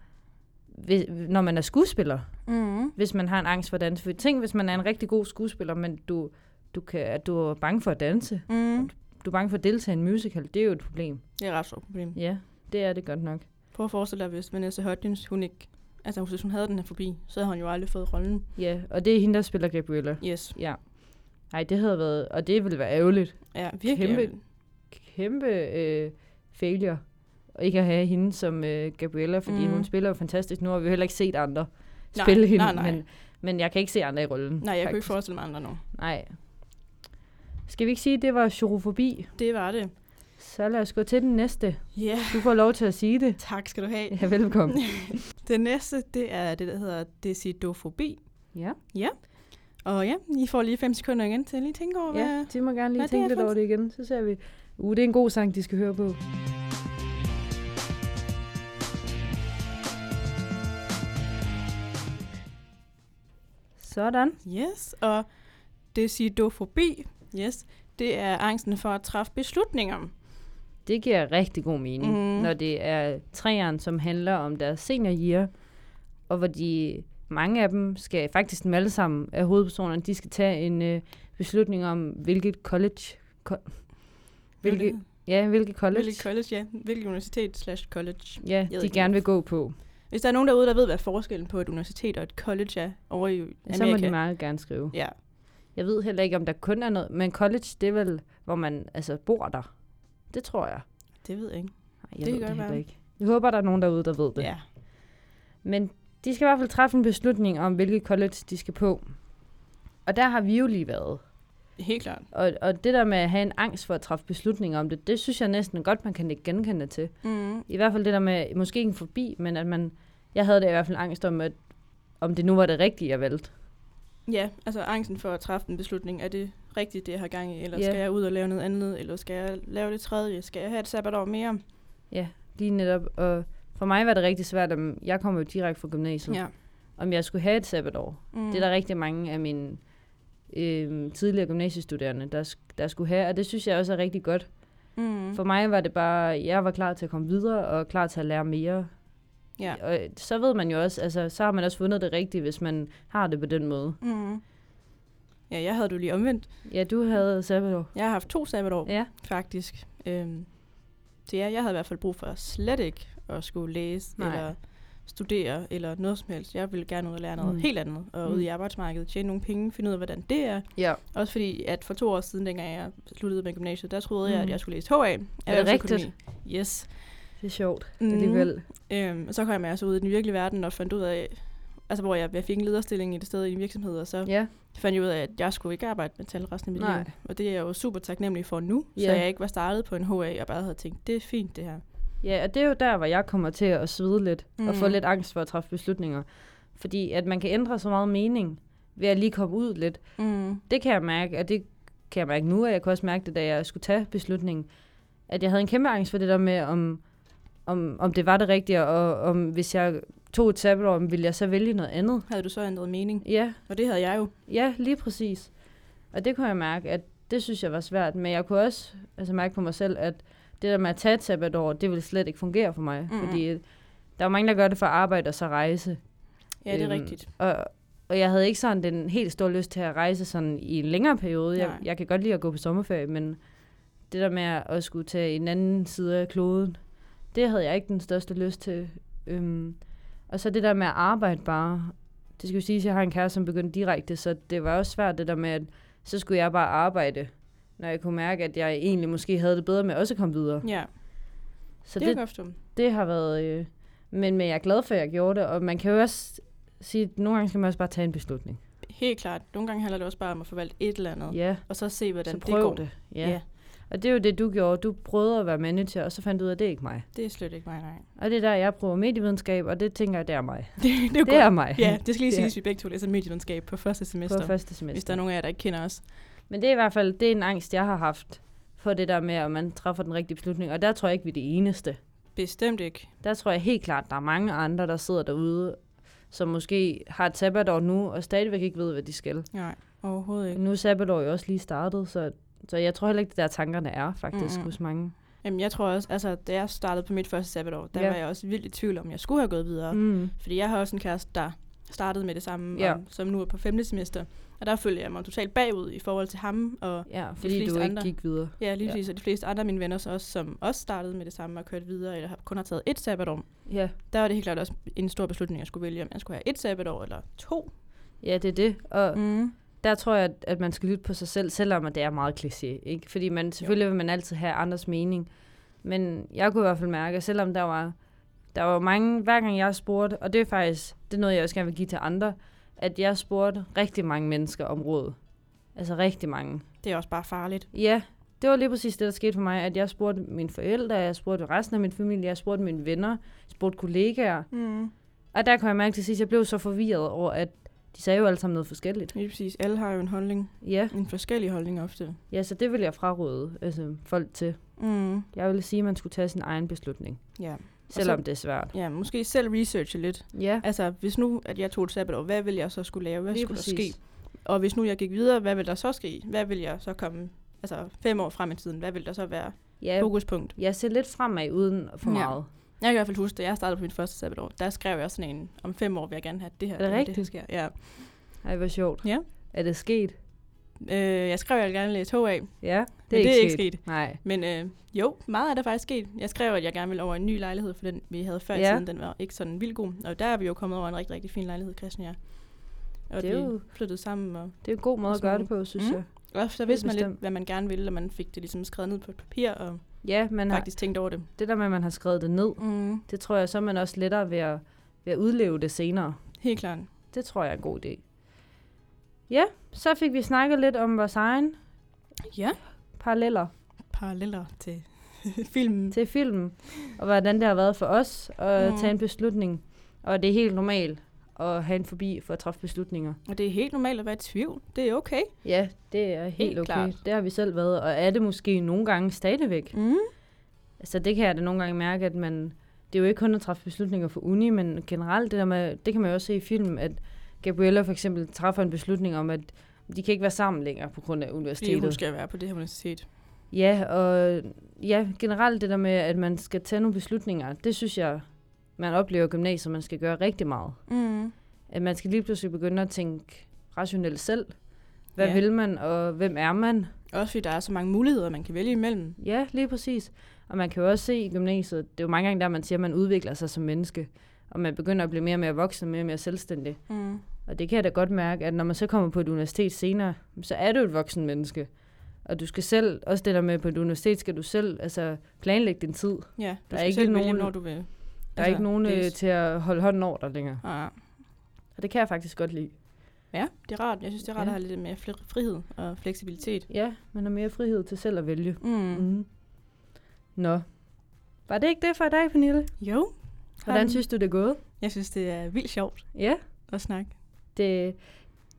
S1: hvis, når man er skuespiller.
S2: mm-hmm.
S1: Hvis man har en angst for at danse. For tænk, hvis man er en rigtig god skuespiller, men du, du, kan, at du er bange for at danse.
S2: Mm.
S1: Du er bange for at deltage i en musical. Det er jo et problem.
S2: Det er et ret stort problem.
S1: Ja, det er det godt nok.
S2: Prøv at forestille dig, hvis Vanessa Hudgens, hun ikke... Altså, hvis hun havde den her forbi, så havde hun jo aldrig fået rollen.
S1: Ja, og det er hende, der spiller Gabriella.
S2: Yes.
S1: Ja. Nej, det havde været... Og det ville være ærgerligt.
S2: Ja, virkelig.
S1: Kæmpe-
S2: ærgerligt.
S1: Kæmpe øh, failure. Og ikke at have hende som øh, Gabriella, fordi mm.
S2: Mhm.
S1: hun spiller jo fantastisk. Nu har vi jo heller ikke set andre.
S2: Nej,
S1: spille hende,
S2: nej, nej.
S1: Men, men jeg kan ikke se andre i rollen.
S2: Nej, jeg kunne ikke
S1: faktisk.
S2: forestille mig andre nu.
S1: Nej. Skal vi ikke sige, at det var chorofobi?
S2: Det var det.
S1: Så lad os gå til den næste.
S2: Ja, yeah.
S1: Du får lov til at sige det.
S2: tak skal du have.
S1: Ja,
S2: (laughs)
S1: velkommen.
S2: Det næste, det er det, der hedder decidofobi.
S1: Ja,
S2: Og ja, I får lige 5 sekunder igen til at lige tænke over,
S1: ja
S2: hvad...
S1: de må gerne lige
S2: hvad det
S1: tænke
S2: er
S1: lidt
S2: for en-
S1: over det igen. Så ser vi. Uh, det er en god sang, de skal høre på. Sådan.
S2: Yes, og decidofobi, yes, det er angsten for at træffe beslutninger.
S1: Det giver rigtig god mening,
S2: Mhm.
S1: mm. når det er træerne, som handler om deres senioryear, og hvor de, mange af dem skal, faktisk dem alle sammen af hovedpersonerne, de skal tage en øh, beslutning om, hvilket college, ko- Hvilke, ja, hvilke college,
S2: Hvilket college, ja. Hvilket universitet slash college.
S1: ja,
S2: ved
S1: de
S2: ikke.
S1: gerne vil gå på.
S2: Hvis der er nogen derude, der ved, hvad forskellen på et universitet og et college er over i Amerika.
S1: Så må de meget gerne skrive.
S2: Ja,
S1: Jeg ved heller ikke, om der kun er noget, men college, det er vel, hvor man altså, bor der. Det tror jeg.
S2: det ved jeg ikke.
S1: Ej, jeg det
S2: Det kan
S1: ved det
S2: godt
S1: heller
S2: være.
S1: ikke. Jeg håber, der er nogen derude, der ved det.
S2: Ja.
S1: Men de skal i hvert fald træffe en beslutning om, hvilket college de skal på. Og der har vi jo lige været.
S2: Helt klart.
S1: Og, og det der med at have en angst for at træffe beslutninger om det, det synes jeg næsten godt, man kan ikke genkende til.
S2: Mm.
S1: I hvert fald det der med, måske ikke en forbi, men at man... Jeg havde da i hvert fald angst om, at, om det nu var det rigtige, jeg valgte.
S2: Ja, altså angsten for at træffe en beslutning. Er det rigtigt, det jeg har gang i? Eller
S1: Ja.
S2: yeah. skal jeg ud og lave noget andet? Eller skal jeg lave det tredje? Skal jeg have et sabbatår mere?
S1: Lige netop. Og for mig var det rigtig svært, om jeg kom jo direkte fra gymnasiet,
S2: Ja.
S1: om jeg skulle have et sabbatår.
S2: Mm.
S1: Det er der rigtig mange af mine øh, tidligere gymnasiestuderende, der, sk- der skulle have, og det synes jeg også er rigtig godt.
S2: Mm.
S1: For mig var det bare, jeg var klar til at komme videre og klar til at lære mere.
S2: Ja.
S1: Og så ved man jo også, altså så har man også fundet det rigtige, hvis man har det på den måde.
S2: Mm. Ja, jeg havde du lige omvendt.
S1: Ja, du havde sabbatår.
S2: Jeg har haft to sabbatår,
S1: Ja,
S2: faktisk. Øhm, det er, jeg havde i hvert fald brug for slet ikke at skulle læse
S1: Nej.
S2: Nej. eller studere eller noget som helst. Jeg ville gerne ud og lære noget
S1: Mm.
S2: mm. helt andet, og mm. ud i arbejdsmarkedet, tjene nogle penge, finde ud af, hvordan det er.
S1: ja.
S2: Også fordi, at for to år siden, dengang jeg sluttede med gymnasiet, der troede mm. jeg,
S1: Mm.
S2: at jeg skulle læse HA.
S1: rigtigt?
S2: Yes.
S1: det er sjovt
S2: Mm.
S1: mm. alligevel.
S2: Øhm, og så kom jeg altså ud i den virkelige verden og fandt ud af, altså hvor jeg, jeg fik en lederstilling et sted i en virksomhed, og så
S1: Ja,
S2: fandt jeg ud af, at jeg skulle ikke arbejde med tal resten af mit
S1: Nej.
S2: liv. Og det er jeg jo super taknemmelig for nu,
S1: Ja.
S2: så jeg ikke var startet på en HA og bare havde tænkt, det er fint det her.
S1: ja og det er jo der, hvor jeg kommer til at svide lidt mm. og få
S2: Mm.
S1: lidt angst for at træffe beslutninger. Fordi at man kan ændre så meget mening ved at lige komme ud lidt.
S2: Mm.
S1: Det kan jeg mærke, og det kan jeg mærke nu, og jeg kunne også mærke det, da jeg skulle tage beslutningen, at jeg havde en kæmpe angst for det der med, om, om, om det var det rigtige, og om hvis jeg tog et sabbatår, om ville jeg så vælge noget andet.
S2: Havde du så ændret mening?
S1: Ja,
S2: Og det havde jeg jo.
S1: ja, lige præcis. Og det kunne jeg mærke, at det synes jeg var svært, men jeg kunne også altså, mærke på mig selv, at det der med at tage et sabbatår, det ville slet ikke fungere for mig,
S2: Mm.
S1: mm. fordi der er jo mange, der gør det for arbejde og så rejse.
S2: Ja, det er
S1: Øhm,
S2: rigtigt.
S1: Og, og jeg havde ikke sådan den helt store lyst til at rejse sådan i en længere periode. Jeg,
S2: Nej.
S1: jeg kan godt lide at gå på sommerferie, men det der med at at skulle tage en anden side af kloden, det havde jeg ikke den største lyst til. Øhm, og så det der med at arbejde bare. Det skal jo siges, at jeg har en kæreste, som begyndte direkte, så det var også svært det der med, at så skulle jeg bare arbejde, når jeg kunne mærke, at jeg egentlig måske havde det bedre med også at komme videre.
S2: Ja,
S1: Så
S2: det, det er godt forstå.
S1: det har været... Øh, men, men jeg er glad for, at jeg gjorde det, og man kan jo også sige, at nogle gange skal man også bare tage en beslutning.
S2: Helt klart. Nogle gange handler det også bare om at forvalte et eller andet,
S1: Ja,
S2: og så se, hvordan
S1: så
S2: det
S1: prøv
S2: går.
S1: det. det. Ja. ja. Og det er jo det, du gjorde. Du prøvede at være manager, og så fandt du ud af, at det er ikke mig.
S2: det er slet ikke mig, nej.
S1: Og det er der, jeg prøver medievidenskab, og det tænker jeg, det er mig.
S2: (laughs) Det, det, er, jo
S1: Det er
S2: godt.
S1: mig
S2: Ja, det skal lige
S1: Ja.
S2: siges, at vi begge to læser medievidenskab på første semester,
S1: på første
S2: hvis der er
S1: semester.
S2: nogen af jer, der ikke kender os.
S1: Men det er i hvert fald det er en angst, jeg har haft for det der med, at man træffer den rigtige beslutning. Og der tror jeg ikke, vi er det eneste.
S2: Bestemt ikke.
S1: Der tror jeg helt klart, der er mange andre, der sidder derude, som måske har et sabbatår nu, og stadigvæk ikke ved, hvad de skal.
S2: Nej, overhovedet ikke.
S1: Nu er sabbatår jo også lige startet, så, så jeg tror heller ikke, det der tankerne er faktisk
S2: Mm, mm.
S1: mm-hmm. hos mange.
S2: Jamen, jeg tror også, altså, da jeg startede på mit første sabbatår, der
S1: Ja.
S2: ja. var jeg også vildt i tvivl om, jeg skulle have gået videre. Mm.
S1: Mm.
S2: Fordi jeg har også en kæreste, der startede med det samme,
S1: Ja.
S2: ja. og, som nu er på femte semester. Og der følte jeg mig totalt bagud i forhold til ham, og
S1: Ja, fordi
S2: fleste
S1: du ikke
S2: andre.
S1: gik videre.
S2: ja, lige
S1: Ja.
S2: præcis, og de fleste andre af mine venner så også, som også startede med det samme og kørte videre, eller har- kun har taget et sabbatår.
S1: Ja.
S2: Der var det helt klart også en stor beslutning, jeg skulle vælge, om jeg skulle have et sabbatår eller to.
S1: ja, det er det. Og mm.
S2: Mm.
S1: der tror jeg, at- at man skal lytte på sig selv, selvom at det er meget kliché. Ikke? Fordi man, selvfølgelig vil man altid have andres mening. Men jeg kunne i hvert fald mærke, at selvom der var, der var mange, hver gang jeg spurgte, og det er faktisk det er noget, jeg også gerne vil give til andre, at jeg spurgte rigtig mange mennesker om råd. Altså rigtig mange.
S2: Det er også bare farligt.
S1: Ja, det var lige præcis det, der skete for mig, at jeg spurgte mine forældre, jeg spurgte resten af min familie, jeg spurgte mine venner, jeg spurgte kollegaer.
S2: Mm.
S1: Og der kunne jeg mærke til sidst, at jeg blev så forvirret over, at de sagde jo alle sammen noget forskelligt.
S2: Lige præcis. Alle har jo en holdning.
S1: Ja,
S2: En forskellig holdning ofte.
S1: ja så det vil jeg fraråde altså, folk til.
S2: Mm.
S1: Jeg ville sige, at man skulle tage sin egen beslutning,
S2: Ja.
S1: selvom det er svært.
S2: ja, måske selv researche lidt.
S1: Ja,
S2: Altså, hvis nu, at jeg tog et sabbatår, hvad ville jeg så skulle lave? Hvad
S1: lige
S2: skulle præcis. der
S1: præcis.
S2: ske? Og hvis nu jeg gik videre, hvad ville der så ske? Hvad ville jeg så komme, altså fem år frem i tiden, hvad ville der så være
S1: Ja,
S2: fokuspunkt?
S1: jeg ser lidt fremad uden for
S2: Ja.
S1: meget.
S2: Jeg kan i hvert fald huske, da jeg startede på mit første sabbatår, der skrev jeg også sådan en, om fem år vil jeg gerne have det her.
S1: Er det
S2: her,
S1: rigtigt?
S2: Det her sker. Ja.
S1: Ej, hvor sjovt.
S2: Ja.
S1: Er det sket?
S2: Øh, jeg skrev, at jeg gerne ville læse HA,
S1: Ja, det
S2: Men
S1: er, ikke,
S2: det er ikke
S1: sket. Nej.
S2: men øh, jo, meget er der faktisk sket. Jeg skrev, at jeg gerne ville over en ny lejlighed, for den vi havde før i
S1: Ja.
S2: tiden, den var ikke sådan vildt god. Og der er vi jo kommet over en rigtig, rigtig fin lejlighed, Christian og jeg. Og
S1: Det er
S2: vi
S1: jo-
S2: flyttede sammen, og,
S1: Det er en god måde at
S2: Sådan
S1: gøre
S2: noget.
S1: det på, synes
S2: Mm.
S1: mm. jeg.
S2: og så vidste man lidt,
S1: bestemt.
S2: hvad man gerne ville, og man fik det ligesom skrevet ned på et papir, og
S1: Ja, men
S2: Nej.
S1: har,
S2: faktisk tænkt over det.
S1: det der med, at man har skrevet det ned,
S2: Mm.
S1: det tror jeg, så er man også lettere ved at, ved at udleve det senere.
S2: Helt klart.
S1: Det tror jeg er en god idé. Ja, så fik vi snakket lidt om vores egen
S2: Ja.
S1: paralleller
S2: Paralleller til (laughs) filmen.
S1: til filmen, og hvordan det har været for os at
S2: Mm.
S1: mm. tage en beslutning. Og det er helt normalt at have en forbi for at træffe beslutninger.
S2: Og det er helt normalt at være i tvivl. Det er okay.
S1: Ja, det er helt,
S2: Helt
S1: helt okay.
S2: klart.
S1: Det har vi selv været, og er det måske nogle gange stadigvæk.
S2: Mm.
S1: Altså det kan jeg da nogle gange mærke, at man, det er jo ikke kun at træffe beslutninger for uni, men generelt, det, der med, det kan man jo også se i film, at Gabriella for eksempel træffer en beslutning om, at de kan ikke være sammen længere på grund af
S2: Fordi hun
S1: universitetet.
S2: skal være på det her universitet.
S1: Ja, og ja, generelt det der med, at man skal tage nogle beslutninger, det synes jeg, man oplever i gymnasiet, man skal gøre rigtig meget.
S2: Mm.
S1: At man skal lige pludselig begynde at tænke rationelt selv. Hvad
S2: Ja.
S1: ja. vil man, og hvem er man?
S2: Også fordi der er så mange muligheder, man kan vælge imellem.
S1: Ja, lige præcis. Og man kan jo også se i gymnasiet, det er jo mange gange der, man siger, at man udvikler sig som menneske, og man begynder at blive mere og mere voksen, mere og mere selvstændig.
S2: Mm.
S1: Og det kan jeg da godt mærke, at når man så kommer på et universitet senere, så er du et voksen menneske. Og du skal selv, også det der med på et universitet, skal du selv altså, planlægge din tid.
S2: Ja, du
S1: Der er
S2: skal
S1: ikke
S2: selv vælge,
S1: nogen-
S2: når du vil. Altså,
S1: Der
S2: Der
S1: er ikke nogen øh, til at holde hånden over dig længere.
S2: Ah.
S1: Og det kan jeg faktisk godt lide.
S2: Ja, det er rart. Jeg synes, det er rart ja.
S1: Ja.
S2: at have lidt mere fri- frihed og fleksibilitet.
S1: Ja, man har mere frihed til selv at vælge.
S2: Mm.
S1: Mm. Nå. Var det ikke det for i dag, Pernille?
S2: Jo.
S1: Hvordan
S2: Jamen,
S1: synes du, det er gået?
S2: Jeg synes, det er vildt sjovt
S1: Ja,
S2: at snakke.
S1: det,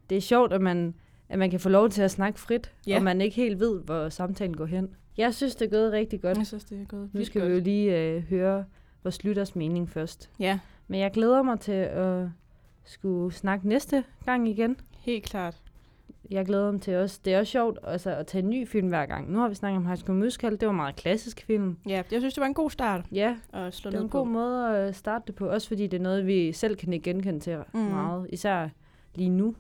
S1: det er sjovt, at man, at man kan få lov til at snakke frit,
S2: Ja.
S1: ja. og man ikke helt ved, hvor samtalen går hen. Jeg synes, det er gået rigtig godt.
S2: Jeg synes, det er gået
S1: Nu
S2: vildt
S1: skal vi
S2: godt.
S1: jo lige øh, høre vores lytters mening først.
S2: Ja,
S1: Men jeg glæder mig til at skulle snakke næste gang igen.
S2: helt klart.
S1: Jeg glæder mig til også. Det er også sjovt altså, at tage en ny film hver gang. Nu har vi snakket om High School Musical. Det var en meget klassisk film.
S2: Ja, jeg synes, det var en god start
S1: Ja,
S2: at slå
S1: det er
S2: ned
S1: en
S2: på.
S1: god måde at øh, starte det på. Også fordi det er noget, vi selv kan ikke genkende til
S2: Mm.
S1: mm. meget. Især lige nu.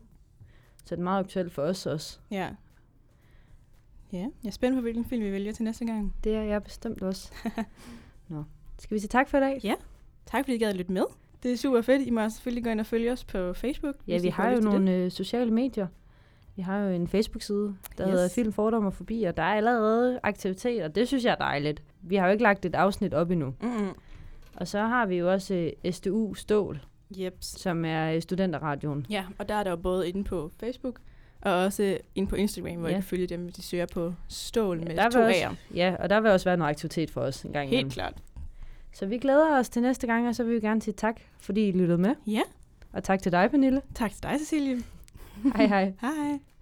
S1: Så det er meget aktuelt for os også.
S2: Ja. Ja, jeg er spændt på, hvilken film vi vælger til næste gang.
S1: Det er jeg bestemt også. (laughs) Nå. Skal vi sige tak for i dag?
S2: Ja. Tak fordi I gad at lytte med. Det er super fedt. I må også selvfølgelig gå ind og følge os på Facebook.
S1: Ja,
S2: hvis
S1: vi
S2: I får
S1: har jo
S2: lyst til
S1: nogle øh, sociale medier. Vi har jo en Facebook-side, der yes.
S2: Yes.
S1: hedder Film, Fordom og Forbi, og der er allerede aktiviteter. Det synes jeg er dejligt. Vi har jo ikke lagt et afsnit op endnu.
S2: det. Mm-mm.
S1: Og så har vi jo også øh, SDU Stål,
S2: Jeps.
S1: som er øh, studenterradioen.
S2: Ja, og der er der jo både inde på Facebook og også inde på Instagram, hvor ja. I
S1: Ja.
S2: kan følge dem, hvis de søger på stål med
S1: der
S2: ja,
S1: vil
S2: to
S1: også-
S2: A'er.
S1: Ja, og der vil også være noget aktivitet for os en gang
S2: Helt
S1: imellem.
S2: klart.
S1: Så vi glæder os til næste gang, og så vil vi gerne sige tak, fordi I lyttede med.
S2: Ja.
S1: Og tak til dig, Pernille.
S2: Tak til dig, Cecilie.
S1: Hej hej.
S2: Hej.